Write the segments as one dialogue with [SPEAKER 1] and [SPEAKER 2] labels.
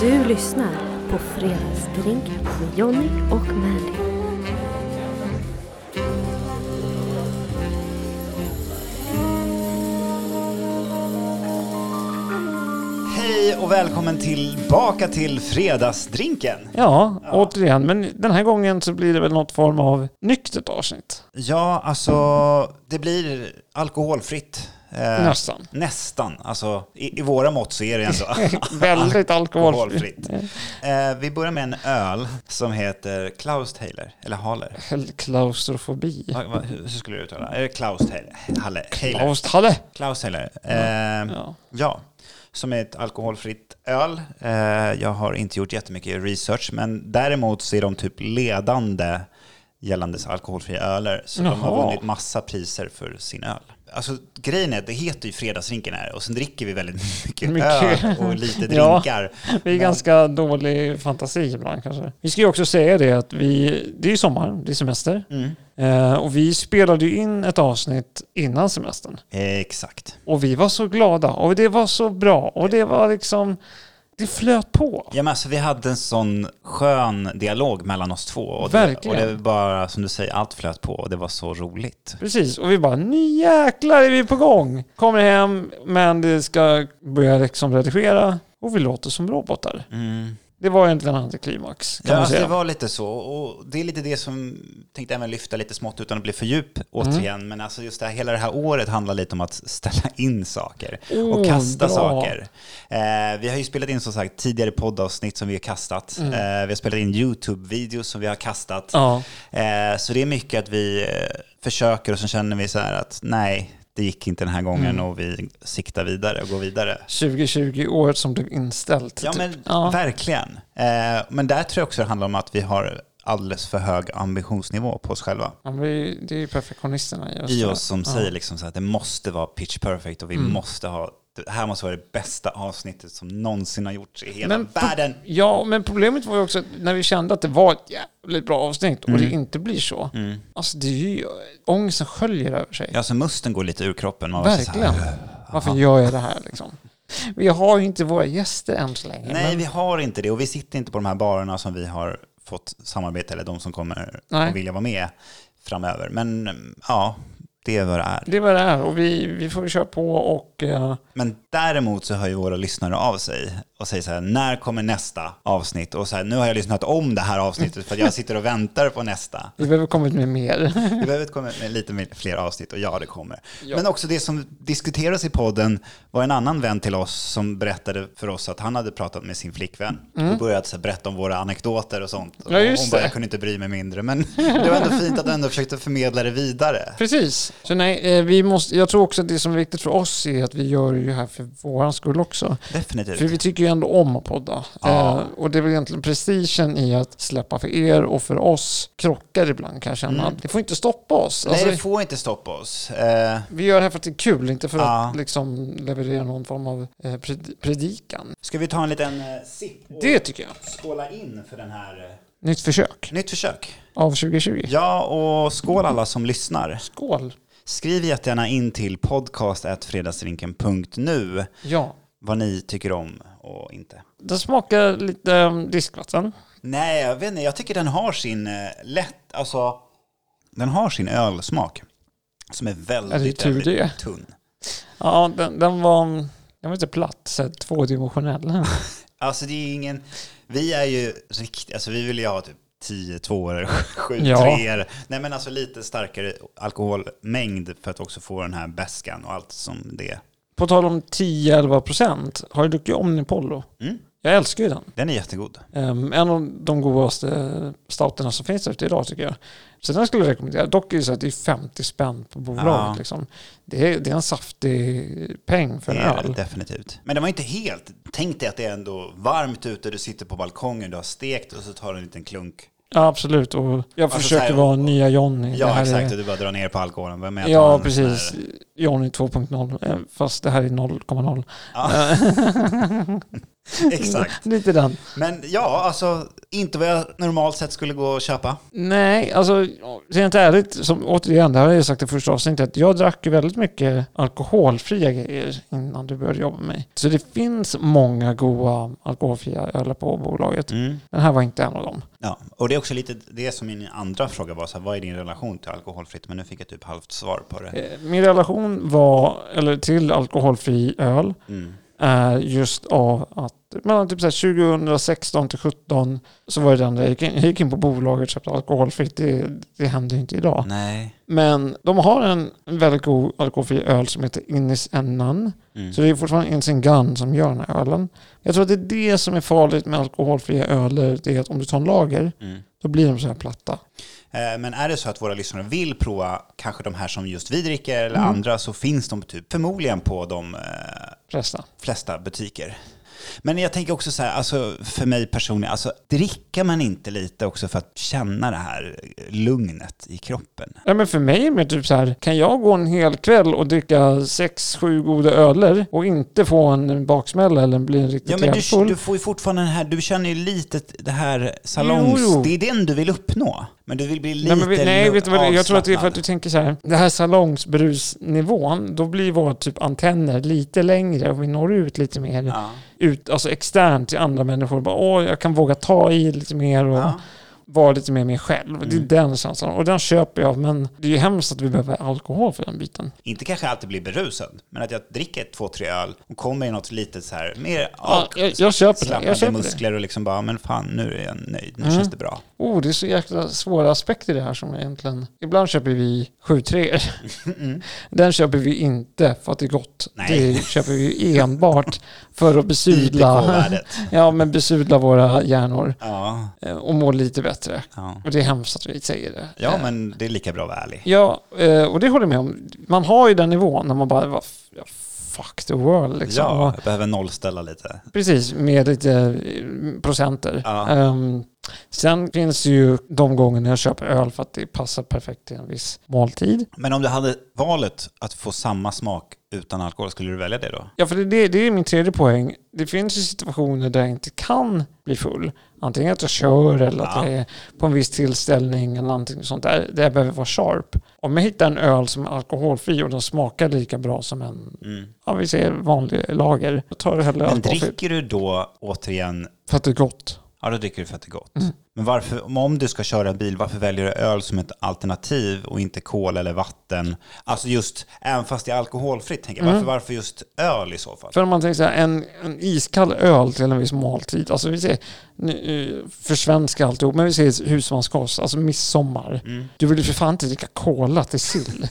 [SPEAKER 1] Du lyssnar på Fredagsdrink med Jonny och Mandy.
[SPEAKER 2] Hej och välkommen tillbaka till Fredagsdrinken.
[SPEAKER 3] Ja, återigen. Men den här gången så blir det väl något form av nyktert avsnitt.
[SPEAKER 2] Ja, alltså det blir alkoholfritt. Eh,
[SPEAKER 3] Nästan.
[SPEAKER 2] Nästan. Alltså, i, I våra mått så är det ändå
[SPEAKER 3] Väldigt alkoholfritt.
[SPEAKER 2] alkoholfritt. Eh, vi börjar med en öl som heter Klausthaler, eller Haler.
[SPEAKER 3] Hel- Klaustrofobi.
[SPEAKER 2] Va, va, hur hur skulle du uttala det? Är det Klausthaler? Halle, Haler.
[SPEAKER 3] Klausthalle.
[SPEAKER 2] Klausthaler. Eh,
[SPEAKER 3] Ja.
[SPEAKER 2] ja, som är ett alkoholfritt öl. Eh, jag har inte gjort jättemycket research, men däremot så är de typ ledande gällandes alkoholfria öler. Så de har
[SPEAKER 3] Jaha.
[SPEAKER 2] vunnit massa priser för sin öl. Alltså grejen är, att det heter ju fredagsdrinken här och sen dricker vi väldigt mycket,
[SPEAKER 3] Mycket.
[SPEAKER 2] öl och lite
[SPEAKER 3] Ja.
[SPEAKER 2] drinkar.
[SPEAKER 3] Det är ganska dålig fantasi ibland kanske. Vi ska ju också säga det att vi, det är ju sommar, det är semester.
[SPEAKER 2] Mm.
[SPEAKER 3] Eh, och vi spelade ju in ett avsnitt innan semestern.
[SPEAKER 2] Eh, Exakt.
[SPEAKER 3] Och vi var så glada och det var så bra och det var liksom, det flöt på.
[SPEAKER 2] Ja, men alltså, vi hade en sån skön dialog mellan oss två. Och det, och
[SPEAKER 3] Verkligen.
[SPEAKER 2] det var bara, som du säger, allt flöt på och det var så roligt.
[SPEAKER 3] Precis, och vi bara nu jäklar är vi på gång. Kommer hem, men det ska börja liksom redigera och vi låter som robotar.
[SPEAKER 2] Mm.
[SPEAKER 3] Det var egentligen antiklimax kan
[SPEAKER 2] Ja,
[SPEAKER 3] man
[SPEAKER 2] alltså,
[SPEAKER 3] säga.
[SPEAKER 2] det var lite så. Och det är lite det som tänkte även lyfta lite smått utan att bli för djup
[SPEAKER 3] Mm.
[SPEAKER 2] återigen. Men alltså just det här, hela det här året handlar lite om att ställa in saker och
[SPEAKER 3] Oh,
[SPEAKER 2] kasta
[SPEAKER 3] bra.
[SPEAKER 2] saker. Eh, vi har ju spelat in som sagt tidigare poddavsnitt som vi har kastat. Eh, vi har spelat in YouTube-videos som vi har kastat.
[SPEAKER 3] Mm. Ja,
[SPEAKER 2] Eh, så det är mycket att vi eh, försöker och så känner vi så här att nej, det gick inte den här gången
[SPEAKER 3] Mm.
[SPEAKER 2] och vi siktar vidare och går vidare.
[SPEAKER 3] 2020, året som blev inställt.
[SPEAKER 2] Ja,
[SPEAKER 3] typ.
[SPEAKER 2] men
[SPEAKER 3] ja.
[SPEAKER 2] verkligen. Eh, men där tror jag också det handlar om att vi har alldeles för hög ambitionsnivå på oss själva.
[SPEAKER 3] Ja, men det är ju- det är ju perfektionisterna i oss.
[SPEAKER 2] I
[SPEAKER 3] tror jag.
[SPEAKER 2] oss som
[SPEAKER 3] ja. Mm.
[SPEAKER 2] säger liksom så här att det måste vara pitch perfect och vi måste ha, det här måste vara det bästa avsnittet som någonsin har gjorts i hela
[SPEAKER 3] Men-
[SPEAKER 2] världen.
[SPEAKER 3] Ja, men problemet var ju också att när vi kände att det var ett jävligt bra avsnitt och det
[SPEAKER 2] Mm.
[SPEAKER 3] inte blir så. Alltså det är ju ångesten sköljer över sig.
[SPEAKER 2] Ja, så musten går lite ur kroppen. Man måste så här,
[SPEAKER 3] Verkligen. Varför gör jag det här liksom? Vi har ju inte våra gäster än så länge.
[SPEAKER 2] Nej,
[SPEAKER 3] men-
[SPEAKER 2] vi har inte det och vi sitter inte på de här barerna som vi har fått samarbete eller de som kommer
[SPEAKER 3] Nej.
[SPEAKER 2] att vilja vara med framöver. Men mm, ja, det är vad det är.
[SPEAKER 3] Det var det här och vi, vi får köra på och eh,
[SPEAKER 2] Men däremot så hör ju våra lyssnare av sig och säger så här, när kommer nästa avsnitt? Och så här, nu har jag lyssnat om det här avsnittet för att jag sitter och väntar på nästa.
[SPEAKER 3] vi behöver komma ut med mer.
[SPEAKER 2] Vi behöver komma med lite mer- fler avsnitt och ja, det kommer.
[SPEAKER 3] Mm. Ja.
[SPEAKER 2] Men också det som diskuteras i podden var en annan vän till oss som berättade för oss att han hade pratat med sin flickvän och börjat så här, berätta om våra anekdoter och sånt.
[SPEAKER 3] Mm. Ja, just
[SPEAKER 2] och hon bara,
[SPEAKER 3] det.
[SPEAKER 2] jag kunde inte bry mig mindre. Men det var ändå fint att du ändå försökte förmedla det vidare.
[SPEAKER 3] Precis. Så nej, eh, vi måste, jag tror också att det som är viktigt för oss är att vi gör det ju här för våran skull också. För
[SPEAKER 2] Definitivt.
[SPEAKER 3] vi tycker ju ändå om att podda.
[SPEAKER 2] Ja.
[SPEAKER 3] Eh, och det är väl egentligen prestigen i att släppa för er och för oss krockar ibland kan jag känna. Det får inte stoppa oss.
[SPEAKER 2] Mm. Nej,
[SPEAKER 3] Alltså,
[SPEAKER 2] det får inte stoppa oss. Eh,
[SPEAKER 3] vi gör det här för att det är kul, inte för
[SPEAKER 2] Ja.
[SPEAKER 3] att liksom leverera någon form av eh, pred- predikan.
[SPEAKER 2] Ska vi ta en liten eh, sipp? och-
[SPEAKER 3] Det tycker jag.
[SPEAKER 2] skåla in för den här... eh,
[SPEAKER 3] Nytt försök
[SPEAKER 2] Nytt försök.
[SPEAKER 3] av 2020.
[SPEAKER 2] Ja, och skål alla som lyssnar.
[SPEAKER 3] Skål!
[SPEAKER 2] Skriv jättegärna in till podcast.fredagsdrinken.nu
[SPEAKER 3] Ja.
[SPEAKER 2] vad ni tycker om och inte.
[SPEAKER 3] Den smakar lite um, diskvatten.
[SPEAKER 2] Nej, jag vet inte. Jag tycker den har sin eh, lätt... Alltså, den har sin ölsmak som är
[SPEAKER 3] Är det
[SPEAKER 2] väldigt,
[SPEAKER 3] tur
[SPEAKER 2] väldigt
[SPEAKER 3] det?
[SPEAKER 2] tunn.
[SPEAKER 3] Ja, den, den var, um, den var inte platt, så här, tvådimensionell.
[SPEAKER 2] Alltså det är ju ingen... Vi är ju riktigt... Alltså vi vill ju ha typ 10 tvåor, 7
[SPEAKER 3] Ja.
[SPEAKER 2] treor. Nej men alltså lite starkare alkoholmängd för att också få den här bäskan och allt som det är.
[SPEAKER 3] På tal om 10-11 procent, har du druckit Omnipollo?
[SPEAKER 2] Mm.
[SPEAKER 3] Jag älskar ju den.
[SPEAKER 2] Den är jättegod.
[SPEAKER 3] Ehm, en av de godaste eh, stouterna som finns ute idag tycker jag. Så den skulle jag rekommendera. Dock är det så att det är 50 spänn på bolaget.
[SPEAKER 2] Ja.
[SPEAKER 3] Liksom. Det, är, det är en saftig peng för en
[SPEAKER 2] det är det
[SPEAKER 3] öl.
[SPEAKER 2] definitivt. Men det var inte helt... Tänk dig att det är ändå varmt ute, du sitter på balkongen, du har stekt och så tar du en liten klunk.
[SPEAKER 3] Ja, absolut. Och jag
[SPEAKER 2] Alltså, så
[SPEAKER 3] försöker
[SPEAKER 2] här-
[SPEAKER 3] vara nya Johnny. Det
[SPEAKER 2] Ja
[SPEAKER 3] här
[SPEAKER 2] exakt,
[SPEAKER 3] Är,
[SPEAKER 2] och du bara drar ner på alkoholen. Vem är
[SPEAKER 3] ja, precis. Johnny 2.0, eh, fast det här är 0,0.
[SPEAKER 2] Ja, exakt.
[SPEAKER 3] Lite den.
[SPEAKER 2] Men ja, alltså inte vad jag normalt sett skulle gå och köpa.
[SPEAKER 3] Nej, alltså rent ärligt, som, återigen, det här har jag sagt i första avsnittet, att jag drack ju väldigt mycket alkoholfria grejer innan du började jobba med mig. Så det finns många goda alkoholfria öl på bolaget. Den här var inte en av dem.
[SPEAKER 2] Ja, och det är också lite det som min andra fråga var, så här, vad är din relation till alkoholfritt? Men nu fick jag typ halvt svar på det.
[SPEAKER 3] Eh, Min relation var, eller till alkoholfri öl,
[SPEAKER 2] Mm.
[SPEAKER 3] är Eh, just av att mellan typ så här 2016 till 2017 så var det den där jag gick in, jag gick in på bolaget och köpte alkoholfritt. Det, det händer ju inte
[SPEAKER 2] Mm.
[SPEAKER 3] idag.
[SPEAKER 2] Nej.
[SPEAKER 3] Men de har en väldigt god alkoholfri öl som heter Innis Ennan.
[SPEAKER 2] Mm.
[SPEAKER 3] Så det är fortfarande Innis Gun som gör den här ölen. Jag tror att det är det som är farligt med alkoholfria öler. Det är att om du tar en lager,
[SPEAKER 2] Mm.
[SPEAKER 3] då blir de så här platta.
[SPEAKER 2] Eh, Men är det så att våra lyssnare vill prova kanske de här som just vi dricker eller
[SPEAKER 3] Mm.
[SPEAKER 2] andra så finns de typ förmodligen på de eh,
[SPEAKER 3] Flesta.
[SPEAKER 2] flesta butiker. Men jag tänker också så här, alltså för mig personligen, alltså dricker man inte lite också för att känna det här eh, lugnet i kroppen?
[SPEAKER 3] Ja, men för mig är det typ så här, kan jag gå en hel kväll och dricka sex, sju goda öler och inte få en baksmälla eller bli riktigt
[SPEAKER 2] Ja men du,
[SPEAKER 3] jävfull?
[SPEAKER 2] du får ju fortfarande den här, du känner ju lite det här salongs...
[SPEAKER 3] Jo, jo.
[SPEAKER 2] Det är den du vill uppnå. Men du vill bli lite
[SPEAKER 3] Nej, men, vi- nej
[SPEAKER 2] lu-
[SPEAKER 3] vet du vad, det- jag tror att det är för att du
[SPEAKER 2] avslappnad.
[SPEAKER 3] tänker så här, det här salongsbrusnivån, då blir våra typ antenner lite längre och vi når ut lite mer,
[SPEAKER 2] Ja,
[SPEAKER 3] ut, alltså externt till andra människor. Bara, Åh, jag kan våga ta i lite mer och
[SPEAKER 2] ja.
[SPEAKER 3] vara lite mer mig själv. Det är
[SPEAKER 2] Mm.
[SPEAKER 3] den känslan och den köper jag, men det är ju hemskt att vi behöver alkohol för den biten.
[SPEAKER 2] Inte kanske alltid bli berusad, men att jag dricker två, tre öl och kommer i något litet så här mer
[SPEAKER 3] Ja,
[SPEAKER 2] avslappnade
[SPEAKER 3] jag, jag köper det. Jag köper det.
[SPEAKER 2] muskler och liksom bara, men fan nu är jag nöjd, nu
[SPEAKER 3] Mm.
[SPEAKER 2] känns det bra.
[SPEAKER 3] Oh, det är så jäkla svåra aspekter i det här som jag egentligen... Ibland köper vi 7 3
[SPEAKER 2] Mm.
[SPEAKER 3] Den köper vi inte för att det är gott.
[SPEAKER 2] Nej.
[SPEAKER 3] Det köper vi enbart för att besudla,
[SPEAKER 2] IPK-värdet.
[SPEAKER 3] ja, men besudla våra hjärnor
[SPEAKER 2] Ja,
[SPEAKER 3] eh, och må lite bättre.
[SPEAKER 2] ja.
[SPEAKER 3] Och det är hemskt att vi säger det.
[SPEAKER 2] ja,
[SPEAKER 3] Eh,
[SPEAKER 2] men det är lika bra att vara ärlig.
[SPEAKER 3] Ja, eh, och det håller jag med om. Man har ju den nivån när man bara, "Vad f- ja, fuck the world liksom.
[SPEAKER 2] Ja,
[SPEAKER 3] Och-
[SPEAKER 2] jag behöver nollställa lite.
[SPEAKER 3] Precis, med lite eh, procenter.
[SPEAKER 2] Ja.
[SPEAKER 3] Ehm, sen finns ju de gångerna jag köper öl för att det passar perfekt till en viss måltid.
[SPEAKER 2] Men om du hade valet att få samma smak utan alkohol, skulle du välja det då?
[SPEAKER 3] Ja, för det- det, det är min tredje poäng. Det finns ju situationer där jag inte kan bli full. Antingen att jag kör eller att
[SPEAKER 2] Ja.
[SPEAKER 3] jag är på en viss tillställning eller någonting sånt där. Där jag behöver vara sharp. Om jag hittar en öl som är alkoholfri och den smakar lika bra som en,
[SPEAKER 2] Mm.
[SPEAKER 3] ja vi säger vanlig lager. Jag tar hellre
[SPEAKER 2] Men
[SPEAKER 3] alkoholfri.
[SPEAKER 2] dricker du då återigen,
[SPEAKER 3] För att det är gott.
[SPEAKER 2] ja då dricker du för att det är gott.
[SPEAKER 3] Mm.
[SPEAKER 2] Men varför, om- om du ska köra bil, varför väljer du öl som ett alternativ och inte kol eller vatten? Alltså just, även fast det är alkoholfritt, tänker jag, varför, varför just öl i så fall?
[SPEAKER 3] Mm. För om man tänker så här, en, en iskall öl till en viss måltid. Alltså vi säger, nu, eh, för svenska alltihop, men vi säger husmanskost, alltså midsommar.
[SPEAKER 2] Mm.
[SPEAKER 3] Du vill ju för fan inte dricka cola till sill.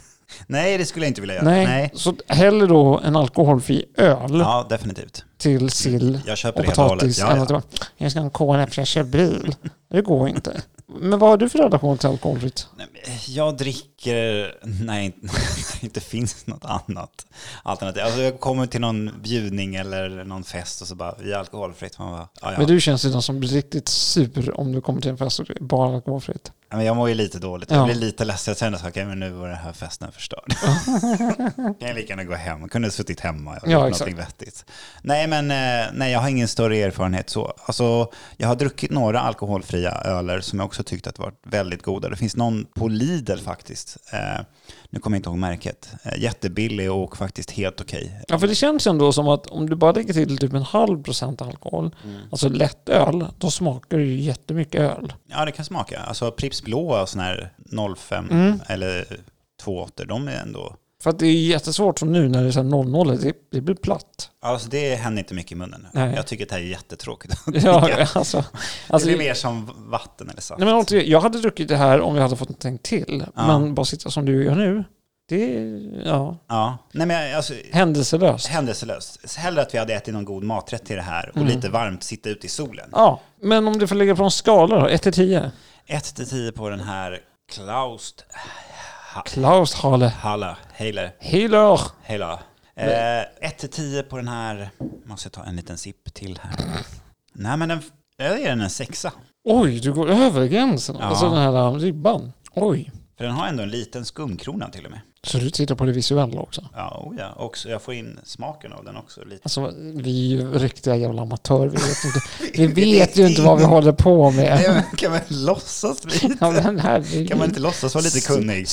[SPEAKER 2] Nej, det skulle jag inte vilja göra.
[SPEAKER 3] Nej. Så hellre då en alkoholfri öl
[SPEAKER 2] Ja, definitivt.
[SPEAKER 3] till sill
[SPEAKER 2] Jag
[SPEAKER 3] och
[SPEAKER 2] köper det helt och hållet.
[SPEAKER 3] potatis.
[SPEAKER 2] Ja,
[SPEAKER 3] än
[SPEAKER 2] ja.
[SPEAKER 3] att bara, Jag ska ha en cola för jag kör bil. Det går inte. Men vad har du för relation till alkoholfritt?
[SPEAKER 2] Nej, men Jag dricker när jag inte- när det inte finns något annat alternativ. Alltså jag kommer till någon bjudning eller någon fest och så bara, vi är alkoholfritt. Man bara, ja, ja.
[SPEAKER 3] Men du känns ju den som blir riktigt sur om du kommer till en fest och det är bara alkoholfritt.
[SPEAKER 2] Ja, men jag mår ju lite dåligt.
[SPEAKER 3] Ja.
[SPEAKER 2] Jag blir lite ledsen. Jag känner så här, okej men nu var den här festen förstörd. kan jag lika gärna gå hem. Jag kunde ha suttit hemma och gjort
[SPEAKER 3] Ja,
[SPEAKER 2] någonting vettigt. Nej, men eh, nej, jag har ingen större erfarenhet så. Alltså, jag har druckit några alkoholfria öler som jag också tyckte att varit väldigt goda. Det finns någon på Lidl faktiskt. Eh, nu kommer jag inte ihåg märket. Eh, jättebillig och faktiskt helt okej.
[SPEAKER 3] Ja, för det känns ju ändå som att om du bara lägger till typ en halv procent alkohol,
[SPEAKER 2] Mm.
[SPEAKER 3] alltså lättöl, då smakar det ju jättemycket öl.
[SPEAKER 2] Ja, det kan smaka. Alltså Pripps blå och sån här 05
[SPEAKER 3] Mm.
[SPEAKER 2] eller 28, de är ändå...
[SPEAKER 3] För att det är jättesvårt som nu när det är så här 00, det, det blir platt.
[SPEAKER 2] Alltså det händer inte mycket i munnen.
[SPEAKER 3] Nej.
[SPEAKER 2] Jag tycker att det här är jättetråkigt.
[SPEAKER 3] Ja, alltså, alltså,
[SPEAKER 2] det är mer som vatten eller saft.
[SPEAKER 3] nej, men återigen, jag hade druckit det här om jag hade fått någonting till,
[SPEAKER 2] Ja.
[SPEAKER 3] men bara sitta som du gör nu, det är ja,
[SPEAKER 2] ja. Nej, men jag- alltså,
[SPEAKER 3] händelselöst.
[SPEAKER 2] händelselöst. Hellre att vi hade ätit någon god maträtt till det här
[SPEAKER 3] Mm.
[SPEAKER 2] och lite varmt sitta ute i solen.
[SPEAKER 3] Ja, men om du får lägga på en skala då, 1 till 10?
[SPEAKER 2] 1 till 10 på den här Klaus
[SPEAKER 3] Klaus Hale.
[SPEAKER 2] Halla, Heiler,
[SPEAKER 3] Healer!
[SPEAKER 2] Hela. 1 till 10 på den här, måste jag ta en liten sipp till här. Nej men den, jag ger den en sexa.
[SPEAKER 3] Oj, du går över gränsen.
[SPEAKER 2] Ja.
[SPEAKER 3] Alltså den här ribban. Oj.
[SPEAKER 2] För den har ändå en liten skumkrona till och med.
[SPEAKER 3] Så du tittar på det visuella också?
[SPEAKER 2] Ja, oh ja. Och så jag får in smaken av den också. Lite.
[SPEAKER 3] Alltså, vi är ju riktiga jävla amatörer. Vi vet, inte, vi vet ju inte vad vi håller på
[SPEAKER 2] Nej,
[SPEAKER 3] med.
[SPEAKER 2] men kan man låtsas lite?
[SPEAKER 3] Ja, men herregud.
[SPEAKER 2] Kan man inte låtsas vara lite kunnig?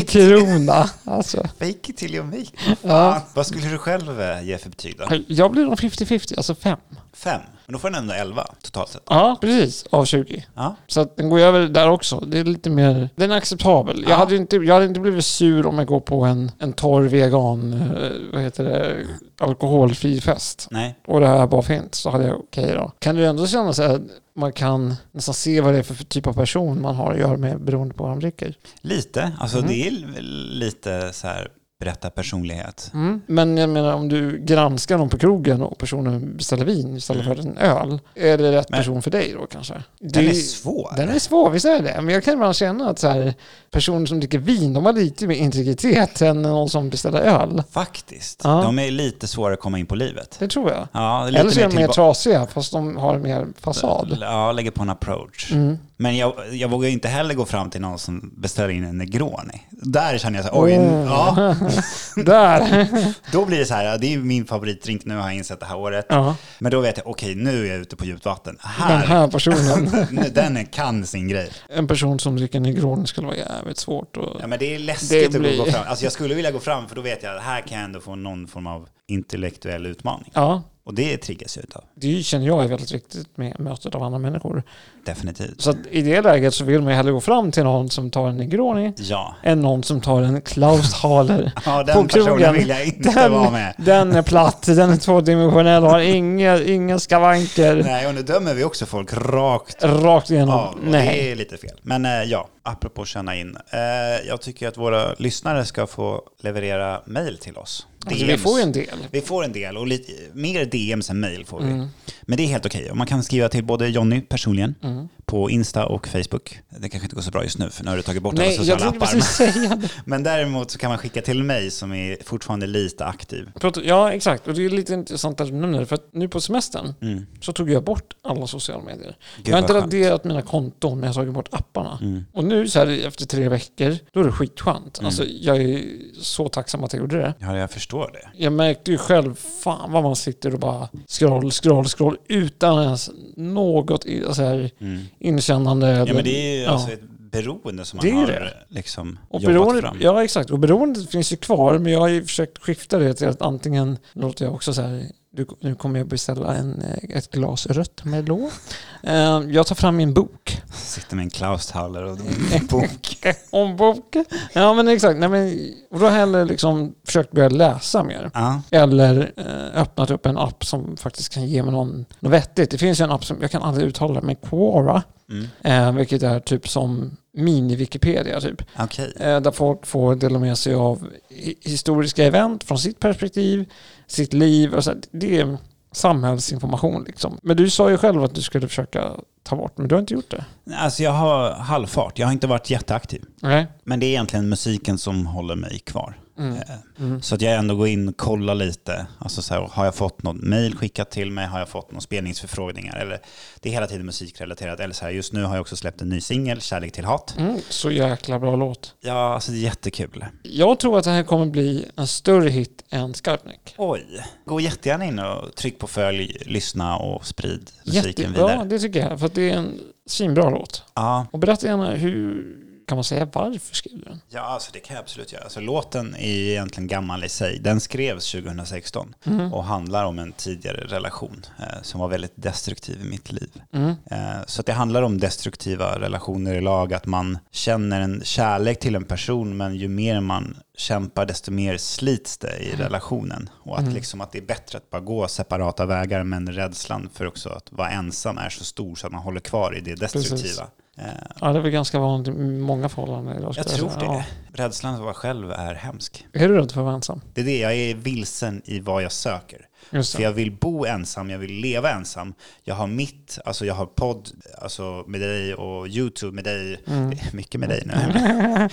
[SPEAKER 3] Skumkrona. Alltså,
[SPEAKER 2] Fake it till you make it.
[SPEAKER 3] ja.
[SPEAKER 2] Vad skulle du själv eh, ge för betyg då?
[SPEAKER 3] Jag blir nog 50-50, alltså fem.
[SPEAKER 2] Fem. Men då får den ändå elva totalt sett.
[SPEAKER 3] Ja, precis. Av 20.
[SPEAKER 2] Ja.
[SPEAKER 3] Så att den går över där också. Det är lite mer... Den är acceptabel.
[SPEAKER 2] Ja.
[SPEAKER 3] Jag, hade ju inte, jag hade inte blivit sur om jag går på en, en torr vegan, eh, vad heter det, alkoholfri fest.
[SPEAKER 2] Nej.
[SPEAKER 3] Och det här bara finns. Så hade jag okej då. Kan du ändå känna så här, att man kan nästan se vad det är för typ av person man har att göra med beroende på vad de dricker.
[SPEAKER 2] Lite. Alltså
[SPEAKER 3] Mm.
[SPEAKER 2] det är l- lite så här berätta personlighet.
[SPEAKER 3] Men jag menar om du granskar någon på krogen och personen beställer vin istället för en öl. Är det rätt
[SPEAKER 2] Mm. Men-
[SPEAKER 3] person för dig då kanske?
[SPEAKER 2] Den
[SPEAKER 3] Det-
[SPEAKER 2] är svår.
[SPEAKER 3] Den är svår, visst är det Men jag kan ibland känna att så här, personer som dricker vin, de har lite mer integritet än någon som beställer öl.
[SPEAKER 2] Faktiskt.
[SPEAKER 3] Ja.
[SPEAKER 2] De är lite svårare att komma in på livet.
[SPEAKER 3] Det tror jag.
[SPEAKER 2] Ja, lite
[SPEAKER 3] Eller så är de mer
[SPEAKER 2] tillba-
[SPEAKER 3] trasiga, fast de har mer fasad.
[SPEAKER 2] Ja, lägger på en approach.
[SPEAKER 3] Mm.
[SPEAKER 2] Men jag, jag vågar ju inte heller gå fram till någon som beställer in en Negroni. Där känner jag så här, oj,
[SPEAKER 3] Mm.
[SPEAKER 2] ja,
[SPEAKER 3] Där!
[SPEAKER 2] då blir det så här, ja, det är ju min favoritdrink nu har jag insett det här året.
[SPEAKER 3] ja,
[SPEAKER 2] Men då vet jag, okej, nu är jag ute på djupt vatten.
[SPEAKER 3] den
[SPEAKER 2] Här,
[SPEAKER 3] här personen.
[SPEAKER 2] nu, den är- kan sin grej.
[SPEAKER 3] En person som dricker Negroni skulle vara jävligt svårt. Och...
[SPEAKER 2] Ja, men det är läskigt
[SPEAKER 3] Det blir-
[SPEAKER 2] att gå fram. Alltså jag skulle vilja gå fram, för då vet jag, här kan jag ändå få någon form av intellektuell utmaning.
[SPEAKER 3] Ja,
[SPEAKER 2] Och det triggas jag utav,
[SPEAKER 3] det känner jag är väldigt viktigt med mötet av andra människor.
[SPEAKER 2] definitivt.
[SPEAKER 3] Så att i det läget så vill man ju hellre gå fram till någon som tar en Negroni
[SPEAKER 2] Ja,
[SPEAKER 3] än någon som tar en Klaus Haler.
[SPEAKER 2] ja den
[SPEAKER 3] På krogen.
[SPEAKER 2] personen vill jag inte
[SPEAKER 3] Den-
[SPEAKER 2] vara med.
[SPEAKER 3] Den är platt, den är tvådimensionell och har inga, inga skavanker
[SPEAKER 2] Nej, och nu dömer vi också folk rakt
[SPEAKER 3] rakt igenom.
[SPEAKER 2] av. och
[SPEAKER 3] Nej.
[SPEAKER 2] Det är lite fel. Men eh, ja, apropå känna in. Eh, jag tycker att våra lyssnare ska få leverera mejl till oss.
[SPEAKER 3] Alltså, vi
[SPEAKER 2] DMs.
[SPEAKER 3] får ju en del.
[SPEAKER 2] Vi får en del och lite, mer DMs än mejl får vi.
[SPEAKER 3] Mm.
[SPEAKER 2] Men det är helt okej. Och Man kan skriva till både Jonny personligen
[SPEAKER 3] Mm.
[SPEAKER 2] på Insta och Facebook. Det kanske inte går så bra just nu för nu har du tagit bort alla
[SPEAKER 3] Nej, jag
[SPEAKER 2] sociala
[SPEAKER 3] tänkte
[SPEAKER 2] appar.
[SPEAKER 3] precis säga det.
[SPEAKER 2] Men, men däremot så kan man skicka till mig som är fortfarande lite aktiv.
[SPEAKER 3] Prata- Ja, exakt. Och det är lite intressant att du nämner det. För att nu på semestern
[SPEAKER 2] Mm.
[SPEAKER 3] så tog jag bort alla sociala medier.
[SPEAKER 2] Gud,
[SPEAKER 3] jag har inte
[SPEAKER 2] vad skönt.
[SPEAKER 3] raderat mina konton, men jag har tagit bort apparna.
[SPEAKER 2] Mm.
[SPEAKER 3] Och nu så här efter tre veckor, då är det skitskönt.
[SPEAKER 2] Mm.
[SPEAKER 3] Alltså, jag är så tacksam att jag gjorde det.
[SPEAKER 2] Ja, jag förstår det.
[SPEAKER 3] Jag märkte ju själv, fan vad man sitter och bara scroll, scroll, scroll utan ens något i- så här,
[SPEAKER 2] Mm.
[SPEAKER 3] inkännande.
[SPEAKER 2] Ja,
[SPEAKER 3] eller-
[SPEAKER 2] men det är ju
[SPEAKER 3] Ja.
[SPEAKER 2] alltså ett beroende som man
[SPEAKER 3] Det är ju
[SPEAKER 2] har
[SPEAKER 3] det.
[SPEAKER 2] Liksom,
[SPEAKER 3] och
[SPEAKER 2] jobbat
[SPEAKER 3] beroendet,
[SPEAKER 2] fram.
[SPEAKER 3] ja, exakt. Och beroendet finns ju kvar, men jag har ju försökt skifta det till att antingen låter jag också så här, du, nu kommer jag beställa en, eh, ett glas rött Merlot. Eh, Jag tar fram min bok.
[SPEAKER 2] Sitter med en Klaus Thaler och
[SPEAKER 3] Mm.
[SPEAKER 2] en bok.
[SPEAKER 3] Om bok. Ja, men exakt. Nej, men, och då har jag hellre liksom försökt börja läsa mer.
[SPEAKER 2] Ja,
[SPEAKER 3] Eller eh, öppnat upp en app som faktiskt kan ge mig någon, något vettigt. Det finns ju en app som jag kan aldrig uttala men Quora.
[SPEAKER 2] mm.
[SPEAKER 3] Eh, vilket är typ som mini-Wikipedia typ.
[SPEAKER 2] okej.
[SPEAKER 3] Eh, där folk får dela med sig av hi- historiska event från sitt perspektiv, sitt liv. Och så här. det är samhällsinformation liksom. Men du sa ju själv att du skulle försöka ta bort, men du har inte gjort det.
[SPEAKER 2] Alltså jag har halvfart. Jag har inte varit jätteaktiv.
[SPEAKER 3] Nej.
[SPEAKER 2] Men det är egentligen musiken som håller mig kvar.
[SPEAKER 3] Mm.
[SPEAKER 2] Eh,
[SPEAKER 3] Mm.
[SPEAKER 2] Så att jag ändå går in och kollar lite. Alltså så här, har jag fått något mejl skickat till mig? Har jag fått några spelningsförfrågningar? Eller, det är hela tiden musikrelaterat. Eller så här, just nu har jag också släppt en ny singel, Kärlek till hat.
[SPEAKER 3] Mm, så jäkla bra låt.
[SPEAKER 2] Ja, alltså det är jättekul.
[SPEAKER 3] Jag tror att det här kommer bli en större hit än Skarpnäck.
[SPEAKER 2] Oj. Gå jättegärna in och tryck på följ, lyssna och sprid musiken
[SPEAKER 3] Jättebra,
[SPEAKER 2] vidare.
[SPEAKER 3] det tycker jag. För att det är en svinbra låt.
[SPEAKER 2] Ja,
[SPEAKER 3] Och berätta gärna hur, kan man säga varför skrev du den?
[SPEAKER 2] ja alltså det kan jag absolut göra. Alltså, låten är ju egentligen gammal i sig. Den skrevs 2016 och handlar om en tidigare relation eh, som var väldigt destruktiv i mitt liv.
[SPEAKER 3] Mm.
[SPEAKER 2] Eh, Så att det handlar om destruktiva relationer i lag, att man känner en kärlek till en person, men ju mer man kämpar, desto mer slits det i relationen. Och att, liksom, att det är bättre att bara gå separata vägar, men rädslan för också att vara ensam är så stor så att man håller kvar i det destruktiva. Eh,
[SPEAKER 3] Ja, det är väl ganska vanligt i många förhållanden idag.
[SPEAKER 2] Jag
[SPEAKER 3] skulle
[SPEAKER 2] tror
[SPEAKER 3] säga.
[SPEAKER 2] det. Rädslan för att vara själv är hemsk.
[SPEAKER 3] Ja. Är du rädd för att vara ensam?
[SPEAKER 2] Det är det, jag är vilsen i vad jag söker.
[SPEAKER 3] Just
[SPEAKER 2] För
[SPEAKER 3] det.
[SPEAKER 2] jag vill bo ensam, jag vill leva ensam. Jag har mitt, alltså jag har podd alltså med dig och YouTube med dig.
[SPEAKER 3] Mm.
[SPEAKER 2] Det är mycket med dig nu.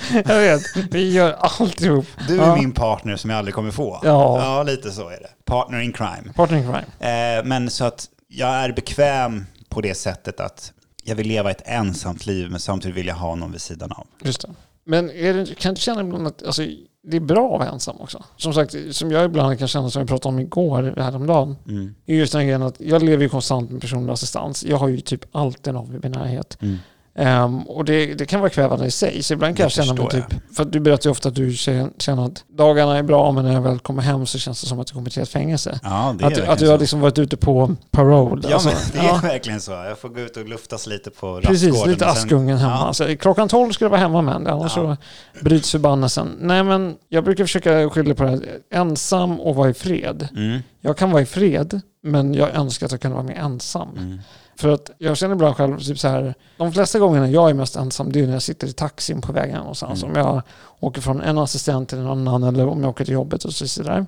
[SPEAKER 3] jag vet, vi gör alltihop.
[SPEAKER 2] Du är
[SPEAKER 3] Ja.
[SPEAKER 2] min partner som jag aldrig kommer få.
[SPEAKER 3] Ja.
[SPEAKER 2] lite så är det. Partner in crime.
[SPEAKER 3] Partner in crime.
[SPEAKER 2] Eh, men så att jag är bekväm på det sättet att jag vill leva ett ensamt liv men samtidigt vill jag ha någon vid sidan av.
[SPEAKER 3] Just det. Men är det, kan du känna ibland att, alltså, det är bra att vara ensam också. Som sagt, som jag ibland kan känna, som jag pratade om igår, häromdagen,
[SPEAKER 2] Mm.
[SPEAKER 3] är just den grejen att jag lever ju konstant med personlig assistans. Jag har ju typ alltid någon vid min närhet.
[SPEAKER 2] Mm.
[SPEAKER 3] Ehm, och det, det kan vara kvävande i sig, så ibland kan
[SPEAKER 2] Det
[SPEAKER 3] jag känna mig
[SPEAKER 2] förstår
[SPEAKER 3] typ... För att du berättar ju ofta att du kän- känner att dagarna är bra, men när jag väl kommer hem så känns det som att jag kommer till ett fängelse.
[SPEAKER 2] Ja, det är
[SPEAKER 3] Att, du-
[SPEAKER 2] verkligen
[SPEAKER 3] att du har
[SPEAKER 2] så.
[SPEAKER 3] liksom varit ute på parole.
[SPEAKER 2] Ja,
[SPEAKER 3] alltså.
[SPEAKER 2] men det är
[SPEAKER 3] Ja,
[SPEAKER 2] verkligen så. Jag får gå ut och luftas lite på
[SPEAKER 3] precis,
[SPEAKER 2] rastgården
[SPEAKER 3] lite
[SPEAKER 2] och sen-
[SPEAKER 3] Askungen hemma.
[SPEAKER 2] Ja.
[SPEAKER 3] Alltså, klockan 12 ska jag vara hemma med annars
[SPEAKER 2] Ja.
[SPEAKER 3] så bryts förbannelsen. Nej, men jag brukar försöka skilja på det här. Ensam och vara i fred.
[SPEAKER 2] Mm,
[SPEAKER 3] Jag kan vara i fred, men jag önskar att jag kunde vara mer ensam.
[SPEAKER 2] mm,
[SPEAKER 3] För att jag känner ibland själv, typ så här, de flesta gångerna jag är mest ensam, det är när jag sitter i taxin på vägen någonstans.
[SPEAKER 2] Mm.
[SPEAKER 3] Om jag åker från en assistent till en annan eller om jag åker till jobbet och så så där.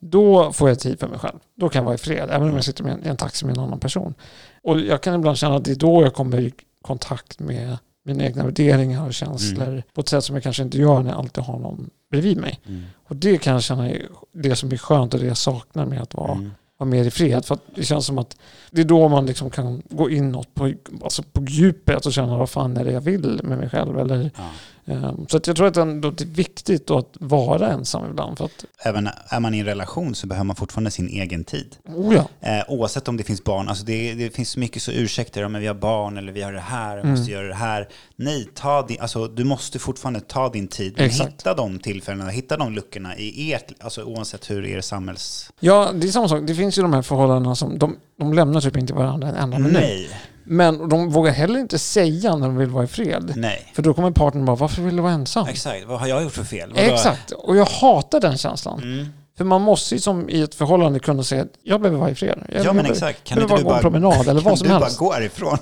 [SPEAKER 3] Då får jag tid för mig själv. Då kan jag vara i fred, även
[SPEAKER 2] Mm.
[SPEAKER 3] om jag sitter med en, i en taxi med en annan person. Och jag kan ibland känna att det är då jag kommer i kontakt med mina egna värderingar och känslor på ett sätt som jag kanske inte gör när jag alltid har någon bredvid mig.
[SPEAKER 2] mm,
[SPEAKER 3] Och det kan jag känna är det som är skönt och det jag saknar med att vara
[SPEAKER 2] mm.
[SPEAKER 3] vara mer i frihet. För att det känns som att det är då man liksom kan gå inåt på, alltså på djupet och känna vad fan är det jag vill med mig själv. Eller,
[SPEAKER 2] Ja.
[SPEAKER 3] ehm, så att jag tror att ändå det är viktigt då att vara ensam ibland. För att,
[SPEAKER 2] Även är man i en relation så behöver man fortfarande sin egen tid.
[SPEAKER 3] oh ja,
[SPEAKER 2] Eh, oavsett om det finns barn, alltså det, det finns så mycket så ursäkter, ja, men vi har barn eller vi har det här, jag
[SPEAKER 3] Mm.
[SPEAKER 2] måste göra det här. Nej, ta din, alltså, du måste fortfarande ta din tid. Men
[SPEAKER 3] Exakt.
[SPEAKER 2] hitta de tillfällena, hitta de luckorna i ert, alltså oavsett hur er samhälls...
[SPEAKER 3] ja, det är samma sak. Det finns ju de här förhållandena som de, de lämnar typ inte varandra en enda minut.
[SPEAKER 2] Nej,
[SPEAKER 3] Men de vågar heller inte säga när de vill vara i fred.
[SPEAKER 2] nej.
[SPEAKER 3] För då kommer partnern bara, varför vill du vara ensam?
[SPEAKER 2] Exakt, vad har jag gjort för fel? Vadå?
[SPEAKER 3] Exakt, och jag hatar den känslan.
[SPEAKER 2] Mm.
[SPEAKER 3] För man måste ju som i ett förhållande kunna säga, jag behöver vara i fred. Jag
[SPEAKER 2] Ja, men
[SPEAKER 3] behöver-
[SPEAKER 2] exakt. Kan
[SPEAKER 3] behöver
[SPEAKER 2] inte
[SPEAKER 3] bara
[SPEAKER 2] du
[SPEAKER 3] gå en
[SPEAKER 2] bara,
[SPEAKER 3] promenad eller
[SPEAKER 2] kan
[SPEAKER 3] vad som
[SPEAKER 2] du bara
[SPEAKER 3] helst.
[SPEAKER 2] gå härifrån?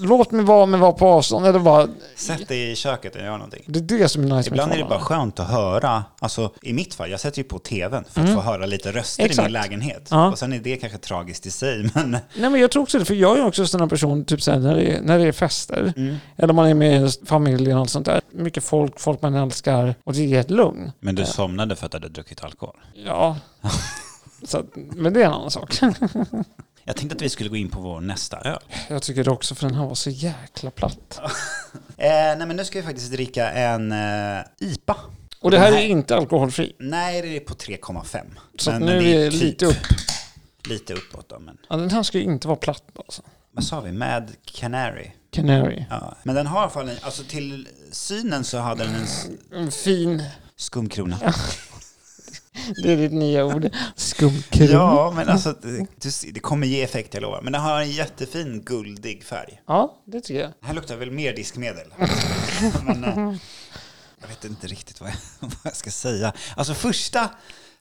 [SPEAKER 3] Låt mig vara, men vara på avstånd. Eller bara,
[SPEAKER 2] Sätt dig i köket och gör någonting.
[SPEAKER 3] det är det som är nice med
[SPEAKER 2] Ibland är det bara
[SPEAKER 3] förhållanden.
[SPEAKER 2] skönt att höra, alltså i mitt fall, jag sätter ju på tvn för att få höra lite röster i
[SPEAKER 3] Mm. Exakt.
[SPEAKER 2] min lägenhet.
[SPEAKER 3] Ja.
[SPEAKER 2] Och sen är det kanske tragiskt i sig, men
[SPEAKER 3] Nej men jag tror också det, för jag är också en sån här person, typ såhär när det är, när det är fester,
[SPEAKER 2] Mm.
[SPEAKER 3] eller man är med familjen och allt sånt där. Mycket folk, folk man älskar och det är ett lugn.
[SPEAKER 2] Men du
[SPEAKER 3] Ja.
[SPEAKER 2] somnade för att du hade druckit alkohol.
[SPEAKER 3] Ja. Så, att- men det är en annan sak.
[SPEAKER 2] Jag tänkte att vi skulle gå in på vår nästa öl.
[SPEAKER 3] Jag tycker det också, för den här var så jäkla platt.
[SPEAKER 2] Eh, nej, men nu ska vi faktiskt dricka en eh, IPA.
[SPEAKER 3] Och det här
[SPEAKER 2] Den
[SPEAKER 3] är inte alkoholfri.
[SPEAKER 2] Nej, det är på 3,5.
[SPEAKER 3] Så att
[SPEAKER 2] Men-
[SPEAKER 3] nu
[SPEAKER 2] men
[SPEAKER 3] är
[SPEAKER 2] det
[SPEAKER 3] vi
[SPEAKER 2] typ
[SPEAKER 3] lite upp.
[SPEAKER 2] Lite uppåt då, men
[SPEAKER 3] Ja, den här ska ju inte vara platt alltså.
[SPEAKER 2] vad sa vi? Mad Canary.
[SPEAKER 3] Canary.
[SPEAKER 2] Ja. Men den har i alla fall, en, alltså till synen så hade den en s-
[SPEAKER 3] En fin,
[SPEAKER 2] skumkrona.
[SPEAKER 3] det är ditt nya ord, skumkrona.
[SPEAKER 2] Ja, men alltså det, du ser- det kommer ge effekt, jag lovar. Men den har en jättefin guldig färg.
[SPEAKER 3] ja, det tycker jag.
[SPEAKER 2] Det här luktar väl mer diskmedel. Men, eh, jag vet inte riktigt vad jag, vad jag ska säga. Alltså första,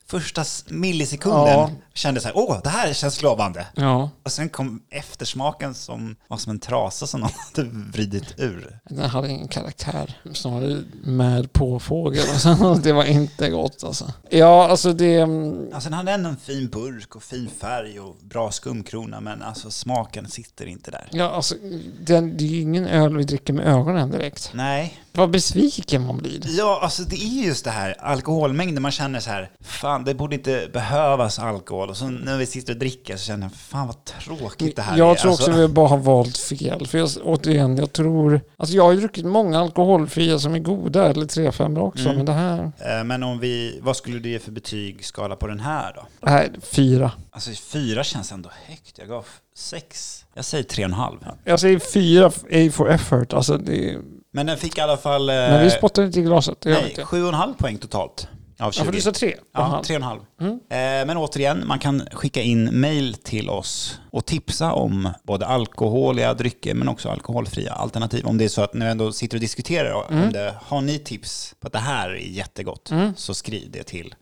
[SPEAKER 2] första s- millisekunden
[SPEAKER 3] Ja.
[SPEAKER 2] kände så här, åh, det här känns lovande.
[SPEAKER 3] Ja,
[SPEAKER 2] Och sen kom eftersmaken som var som en trasa som någon hade vridit ur.
[SPEAKER 3] den hade ingen karaktär. Snarare med påfågel. och så. det var inte gott alltså. Ja, alltså det... mm,
[SPEAKER 2] Alltså den hade ändå en fin burk och fin färg och bra skumkrona, men alltså smaken sitter inte där.
[SPEAKER 3] Ja, alltså, det, det är ju ingen öl vi dricker med ögonen direkt.
[SPEAKER 2] Nej,
[SPEAKER 3] Vad besviken man blir.
[SPEAKER 2] ja alltså det är just det här alkoholmängden, man känner så här, fan det borde inte behövas alkohol. Och så när vi sitter och dricker så känner jag, fan vad tråkigt det här
[SPEAKER 3] jag
[SPEAKER 2] är.
[SPEAKER 3] tror också
[SPEAKER 2] alltså,
[SPEAKER 3] vi bara har valt fel. För jag, återigen, jag tror... Alltså jag har ju druckit många alkoholfria som är goda, eller 3-5 också,
[SPEAKER 2] Mm.
[SPEAKER 3] men det här...
[SPEAKER 2] Eh, Men om vi, vad skulle du ge för betygsskala på den här då?
[SPEAKER 3] Det här är fyra.
[SPEAKER 2] Alltså fyra känns ändå högt. Jag gav sex. Jag säger tre och en halv.
[SPEAKER 3] Jag säger Alltså, fyra, A for effort. Alltså det,
[SPEAKER 2] Men den fick i alla fall... eh,
[SPEAKER 3] men vi spottar inte i glaset, det gör vi
[SPEAKER 2] nej,
[SPEAKER 3] inte.
[SPEAKER 2] sju och en halv poäng totalt. Av 20.
[SPEAKER 3] Ja, för du sa tre.
[SPEAKER 2] Ja, tre och en halv.
[SPEAKER 3] Mm.
[SPEAKER 2] Eh, Men återigen, man kan skicka in mail till oss och tipsa om både alkoholiga drycker men också alkoholfria alternativ. Om det är så att ni ändå sitter och diskuterar,
[SPEAKER 3] Mm.
[SPEAKER 2] om det, har ni tips på att det här är jättegott så skriv det till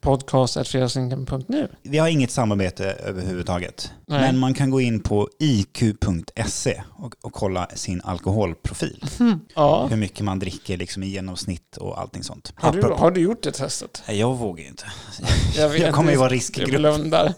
[SPEAKER 3] podcast.fredagsrinken.nu.
[SPEAKER 2] Vi har inget samarbete överhuvudtaget.
[SPEAKER 3] Nej.
[SPEAKER 2] Men man kan gå in på iq.se E och, och kolla sin alkoholprofil.
[SPEAKER 3] Ja.
[SPEAKER 2] Hur mycket man dricker liksom, i genomsnitt och allting sånt.
[SPEAKER 3] Har du,
[SPEAKER 2] Apropå-
[SPEAKER 3] har du gjort det testet?
[SPEAKER 2] Nej, Jag vågar ju inte.
[SPEAKER 3] vet
[SPEAKER 2] Jag kommer ju
[SPEAKER 3] inte.
[SPEAKER 2] vara
[SPEAKER 3] Jag
[SPEAKER 2] riskgrupp.
[SPEAKER 3] blundar.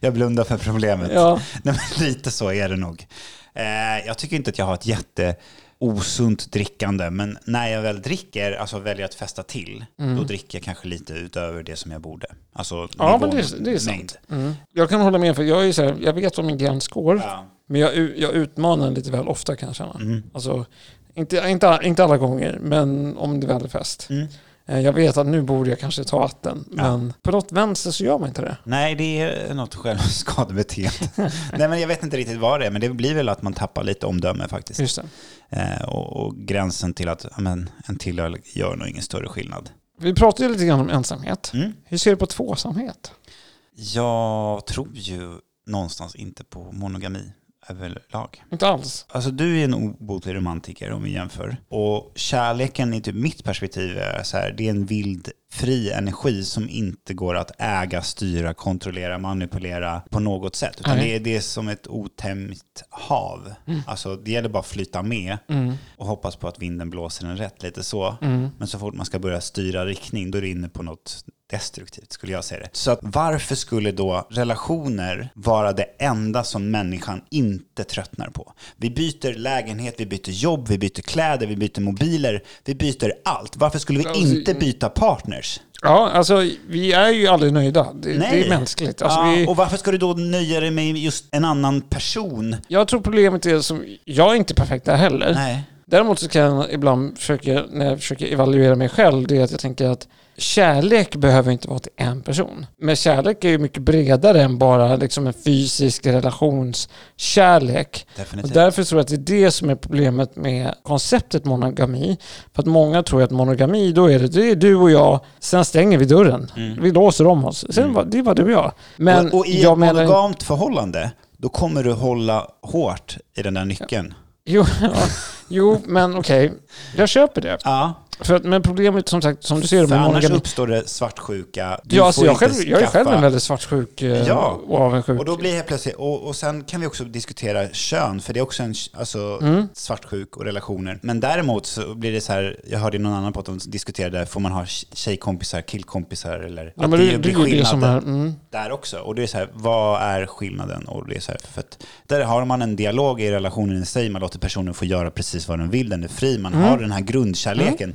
[SPEAKER 2] Jag blundar för problemet.
[SPEAKER 3] Ja.
[SPEAKER 2] Nej, men lite så är det nog. Eh, jag tycker inte att jag har ett jätte osunt drickande, men när jag väl dricker, alltså väljer att festa till,
[SPEAKER 3] Mm.
[SPEAKER 2] då dricker jag kanske lite utöver det som jag borde. Alltså
[SPEAKER 3] Ja,
[SPEAKER 2] nivån,
[SPEAKER 3] men det är, det är
[SPEAKER 2] mängd.
[SPEAKER 3] sant. Mm. Jag kan hålla med, för jag är ju så här, jag vet vad min gräns går,
[SPEAKER 2] Ja. Mm.
[SPEAKER 3] men jag, u- jag utmanar den lite väl ofta kan jag känna. Alltså, inte, inte, inte alla gånger, men om det väl är fest.
[SPEAKER 2] Mm.
[SPEAKER 3] Eh, Jag vet att nu borde jag kanske ta vatten, men på något vänster så gör man inte det.
[SPEAKER 2] Nej, det är något självskadebeteende. Nej, men jag vet inte riktigt vad det är, men det blir väl att man tappar lite omdöme faktiskt.
[SPEAKER 3] Just det.
[SPEAKER 2] Eh, och, och gränsen till att ja, men, en till öl gör nog ingen större skillnad.
[SPEAKER 3] Vi pratade ju lite grann om ensamhet.
[SPEAKER 2] Mm.
[SPEAKER 3] Hur ser du på tvåsamhet?
[SPEAKER 2] Jag tror ju någonstans inte på monogami överlag.
[SPEAKER 3] Inte alls.
[SPEAKER 2] Alltså du är en obotlig romantiker om vi jämför. Och kärleken i typ mitt perspektiv är så här, det är en vild fri energi som inte går att äga, styra, kontrollera, manipulera på något sätt. Utan
[SPEAKER 3] Nej.
[SPEAKER 2] det är, det är som ett otämjt hav.
[SPEAKER 3] Mm.
[SPEAKER 2] Alltså det gäller bara att flyta med och hoppas på att vinden blåser den rätt, lite så.
[SPEAKER 3] Mm.
[SPEAKER 2] Men så fort man ska börja styra riktning, då är det inne på något destruktivt skulle jag säga det. Så att varför skulle då relationer vara det enda som människan inte tröttnar på? Vi byter lägenhet, vi byter jobb, vi byter kläder, vi byter mobiler, vi byter allt. Varför skulle vi
[SPEAKER 3] Alltså,
[SPEAKER 2] inte byta partners?
[SPEAKER 3] Ja, alltså vi är ju aldrig nöjda. Det,
[SPEAKER 2] Nej.
[SPEAKER 3] det är mänskligt. Alltså,
[SPEAKER 2] ja,
[SPEAKER 3] vi,
[SPEAKER 2] Och varför ska du då nöja dig med just en annan person?
[SPEAKER 3] jag tror problemet är som, jag är inte perfekt där heller.
[SPEAKER 2] Nej.
[SPEAKER 3] Däremot så kan jag ibland försöka, när jag försöker evaluera mig själv, det är att jag tänker att kärlek behöver inte vara till en person. Men kärlek är ju mycket bredare än bara liksom en fysisk relationskärlek. Och
[SPEAKER 2] Definitivt.
[SPEAKER 3] därför tror jag att det är det som är problemet med konceptet monogami. För att många tror att monogami, då är det, det är du och jag, sen stänger vi dörren. Vi låser om oss. Sen var, det var du och jag. Men
[SPEAKER 2] Mm. och, och i
[SPEAKER 3] jag
[SPEAKER 2] ett
[SPEAKER 3] menar...
[SPEAKER 2] monogamt förhållande, då kommer du hålla hårt i den där nyckeln.
[SPEAKER 3] Jo, ja, jo men okej. Jag köper det.
[SPEAKER 2] Ja.
[SPEAKER 3] För att, men problemet som sagt, som du ser
[SPEAKER 2] För
[SPEAKER 3] med
[SPEAKER 2] annars
[SPEAKER 3] monogami...
[SPEAKER 2] uppstår det svartsjuka. Du
[SPEAKER 3] Ja, alltså
[SPEAKER 2] får
[SPEAKER 3] jag,
[SPEAKER 2] inte
[SPEAKER 3] själv, jag är själv
[SPEAKER 2] skaffa-
[SPEAKER 3] en väldigt svartsjuk eh,
[SPEAKER 2] Ja.
[SPEAKER 3] och avundsjuk.
[SPEAKER 2] Och då blir det helt plötsligt, och, och sen kan vi också diskutera kön, för det är också en alltså,
[SPEAKER 3] Mm.
[SPEAKER 2] svartsjuk och relationer. Men däremot så blir det så här, jag hörde i någon annan podd, de diskuterade, får man ha tjejkompisar, killkompisar eller?
[SPEAKER 3] ja, men det, det, är ju det som är... Mm.
[SPEAKER 2] där också. Och det är så här, vad är skillnaden? Och det är så här, för att där har man en dialog i relationen i sig, man låter personen få göra precis vad den vill, den är fri, man har den här grundkärleken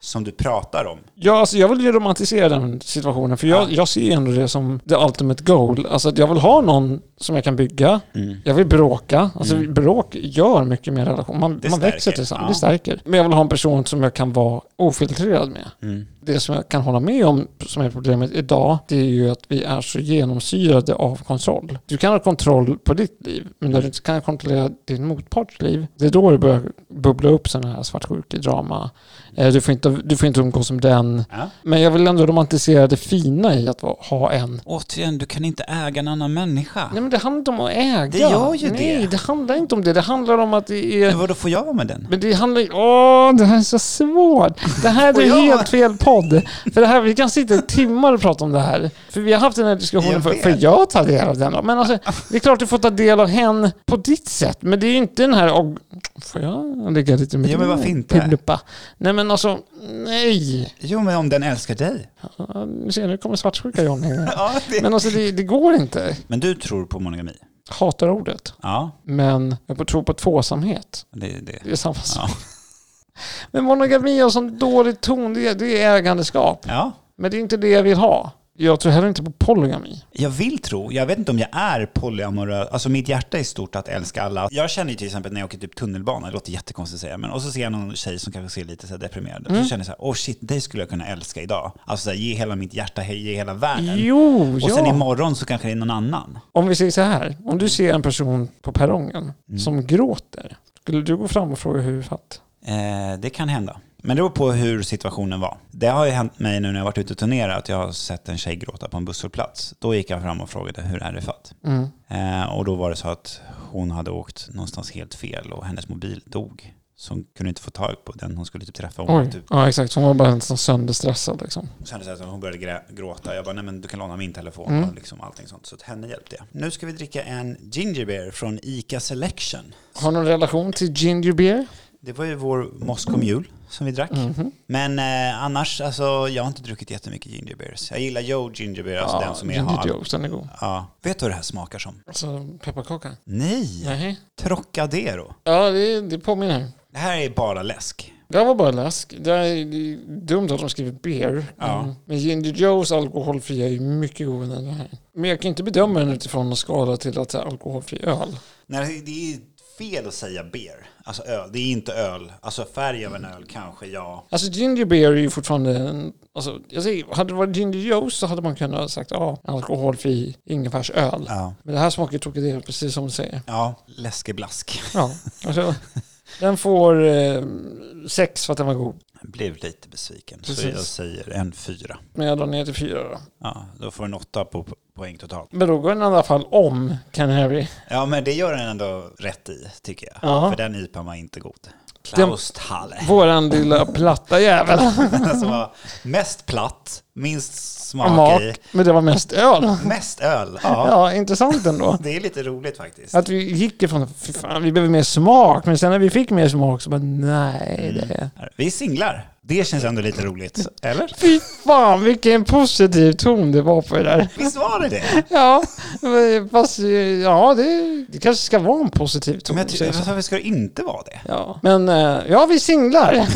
[SPEAKER 2] som du pratar om.
[SPEAKER 3] Ja, alltså jag vill ju romantisera den situationen, för jag, jag ser ju ändå det som the ultimate goal. Alltså att jag vill ha någon som jag kan bygga.
[SPEAKER 2] Mm.
[SPEAKER 3] Jag vill bråka. Alltså bråk gör mycket med relation. Man,
[SPEAKER 2] Det
[SPEAKER 3] man växer
[SPEAKER 2] stärker,
[SPEAKER 3] tillsammans,
[SPEAKER 2] ja.
[SPEAKER 3] det stärker. Men jag vill ha en person som jag kan vara ofiltrerad med.
[SPEAKER 2] Mm.
[SPEAKER 3] Det som jag kan hålla med om, som är problemet idag, det är ju att vi är så genomsyrade av kontroll. Du kan ha kontroll på ditt liv, men när du inte kan kontrollera din motparts liv, det är då det börjar bubbla upp sådana här svartsjukedrama. Eh, Du får, inte, du får inte umgås som den.
[SPEAKER 2] Ja.
[SPEAKER 3] Men jag vill ändå romantisera det fina i att va- ha en.
[SPEAKER 2] Återigen, du kan inte äga en annan människa.
[SPEAKER 3] Nej men det handlar inte om att äga.
[SPEAKER 2] Det gör ju
[SPEAKER 3] Nej,
[SPEAKER 2] det.
[SPEAKER 3] det handlar inte om det. Det handlar om att det är...
[SPEAKER 2] Men vadå, får jag vara med den?
[SPEAKER 3] Men det handlar ju... Åh, det här är så svårt. Det här
[SPEAKER 2] Och
[SPEAKER 3] är
[SPEAKER 2] jag-
[SPEAKER 3] helt fel podd. För det här, vi kan sitta i timmar och prata om det här. För vi har haft den här diskussionen
[SPEAKER 2] Jag
[SPEAKER 3] för,
[SPEAKER 2] vet.
[SPEAKER 3] för jag tar del av den. då. Men alltså, det är klart du får ta del av hen på ditt sätt. Men det är ju inte den här... Och, får jag ligga lite med
[SPEAKER 2] Ja, men
[SPEAKER 3] din
[SPEAKER 2] varför inte?
[SPEAKER 3] pillupa? Nej men alltså, nej.
[SPEAKER 2] Jo, men om den älskar dig.
[SPEAKER 3] Ja, Nu ser jag, nu kommer svartsjuka Johnny.
[SPEAKER 2] Ja, det...
[SPEAKER 3] Men alltså det, det går inte.
[SPEAKER 2] Men du tror på monogami?
[SPEAKER 3] Hatar ordet.
[SPEAKER 2] Ja,
[SPEAKER 3] Men jag tror på tvåsamhet.
[SPEAKER 2] det är det.
[SPEAKER 3] Det är samma sak.
[SPEAKER 2] Ja.
[SPEAKER 3] Men monogami har sån dålig ton. Det, det är ägandeskap.
[SPEAKER 2] Ja,
[SPEAKER 3] Men det är inte det jag vill ha. Jag tror heller inte på polygami.
[SPEAKER 2] jag vill tro, jag vet inte om jag är polyamorös, alltså mitt hjärta är stort att älska alla. Jag känner ju till exempel när jag åker typ tunnelbana, det låter jättekonstigt att säga, men och så ser jag någon tjej som kanske ser lite så här deprimerad ut, så känner jag så här, åh oh shit, dig skulle jag kunna älska idag. Alltså så här, ge hela mitt hjärta, he- ge hela världen.
[SPEAKER 3] Jo,
[SPEAKER 2] och sen
[SPEAKER 3] ja.
[SPEAKER 2] imorgon så kanske det är någon annan.
[SPEAKER 3] Om vi säger så här. Om du ser en person på perrongen
[SPEAKER 2] Mm.
[SPEAKER 3] som gråter. Skulle du gå fram och fråga hur fatt?
[SPEAKER 2] Eh, det kan hända. Men det beror på hur situationen var. Det har ju hänt mig nu när jag varit ute och turnerat att jag har sett en tjej gråta på en busshållplats. Då gick jag fram och frågade hur är det fatt?
[SPEAKER 3] Mm.
[SPEAKER 2] Eh, och då var det så att hon hade åkt någonstans helt fel och hennes mobil dog. Så hon kunde inte få tag på den hon skulle typ träffa. Hon, var
[SPEAKER 3] Oj.
[SPEAKER 2] typ,
[SPEAKER 3] Ja, exakt. Hon var bara en sån sönderstressad liksom.
[SPEAKER 2] sen så här, hon började grä, gråta. Jag bara, nej men du kan låna min telefon
[SPEAKER 3] Mm.
[SPEAKER 2] och liksom allting sånt. Så att henne hjälpte jag. Nu ska vi dricka en ginger beer från Ica Selection.
[SPEAKER 3] Har du någon relation till ginger beer?
[SPEAKER 2] Det var ju vår Moscow Mule som vi drack.
[SPEAKER 3] Mhm.
[SPEAKER 2] Men eh, annars, alltså, jag har inte druckit jättemycket ginger beers. Jag gillar Joe ginger beer, alltså den som är
[SPEAKER 3] ginger
[SPEAKER 2] har.
[SPEAKER 3] jokes, den är god.
[SPEAKER 2] Ja. Vet du vad det här smakar som?
[SPEAKER 3] Alltså pepparkaka?
[SPEAKER 2] Nej,
[SPEAKER 3] Nej.
[SPEAKER 2] Trocadero.
[SPEAKER 3] Ja, det, det påminner.
[SPEAKER 2] Det här är bara läsk.
[SPEAKER 3] Det var bara läsk. Det är, det är dumt att de skriver beer.
[SPEAKER 2] Ja.
[SPEAKER 3] Mm. Men Ginger Joes alkoholfria är ju mycket godare än det här. Men jag kan inte bedöma den utifrån en skala till att det är alkoholfri öl.
[SPEAKER 2] Nej, det är fel att säga beer. Alltså öl. Det är inte öl. Alltså färg av en öl kanske, ja.
[SPEAKER 3] Alltså ginger beer är ju fortfarande en, alltså, jag säger, hade det varit ginger juice så hade man kunnat ha sagt ja, alkoholfri ingefärsöl.
[SPEAKER 2] Ja,
[SPEAKER 3] Men det här smakar ju tråkigt det, precis som du säger.
[SPEAKER 2] ja läskeblask.
[SPEAKER 3] Ja, alltså, den får eh, sex för att den var god.
[SPEAKER 2] Jag blev lite besviken, så
[SPEAKER 3] Precis.
[SPEAKER 2] jag säger en fyra.
[SPEAKER 3] Men jag drar ner till fyra då.
[SPEAKER 2] Ja, då får en åtta på på- poäng totalt.
[SPEAKER 3] Men då går den i alla fall om Canary.
[SPEAKER 2] Ja, men det gör den ändå rätt i, tycker jag.
[SPEAKER 3] Ja.
[SPEAKER 2] För den IPan var inte god. Klausthalle.
[SPEAKER 3] Våran lilla platta jävel.
[SPEAKER 2] Som var mest platt, minst smak
[SPEAKER 3] Mak,
[SPEAKER 2] i,
[SPEAKER 3] men det var mest öl.
[SPEAKER 2] mest öl. Ja,
[SPEAKER 3] Ja, intressant ändå.
[SPEAKER 2] det är lite roligt faktiskt.
[SPEAKER 3] Att vi gick ifrån, fy fan, vi behöver mer smak. Men sen när vi fick mer smak så bara,
[SPEAKER 2] Mm.
[SPEAKER 3] nej det...
[SPEAKER 2] Vi är singlar. Det känns ändå lite roligt. Eller?
[SPEAKER 3] Fy fan vilken positiv ton det var på det där.
[SPEAKER 2] Visst var det det?
[SPEAKER 3] Ja, fast ja, det, det kanske ska vara en positiv ton.
[SPEAKER 2] Men jag ty-
[SPEAKER 3] säger jag så.
[SPEAKER 2] varför ska det inte vara det?
[SPEAKER 3] Ja. Men eh, ja, vi singlar.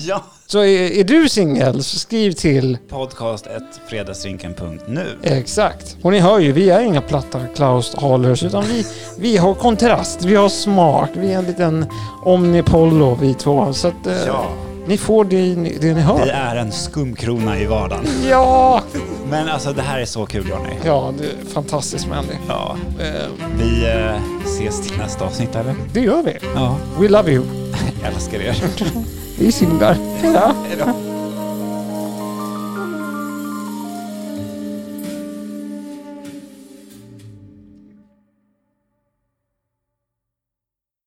[SPEAKER 2] Ja.
[SPEAKER 3] Så är, är du singel så skriv till
[SPEAKER 2] Podcast 1 fredagsdrinken.nu.
[SPEAKER 3] Exakt. Och ni hör ju, vi är inga platta Klaus Halers utan vi, vi har kontrast, vi har smak, vi är en liten omnipollo vi två. Så att eh,
[SPEAKER 2] Ja,
[SPEAKER 3] ni får det, ni- det ni
[SPEAKER 2] vi
[SPEAKER 3] hör.
[SPEAKER 2] är en skumkrona i vardagen.
[SPEAKER 3] Ja!
[SPEAKER 2] Men alltså det här är så kul Johnny.
[SPEAKER 3] Ja, det är fantastiskt människa.
[SPEAKER 2] Ja,
[SPEAKER 3] Eh,
[SPEAKER 2] vi eh, ses till nästa avsnitt eller?
[SPEAKER 3] det gör vi.
[SPEAKER 2] Ja,
[SPEAKER 3] We love you.
[SPEAKER 2] jag älskar er.
[SPEAKER 3] Vi singlar. Hej då.
[SPEAKER 2] Hejdå.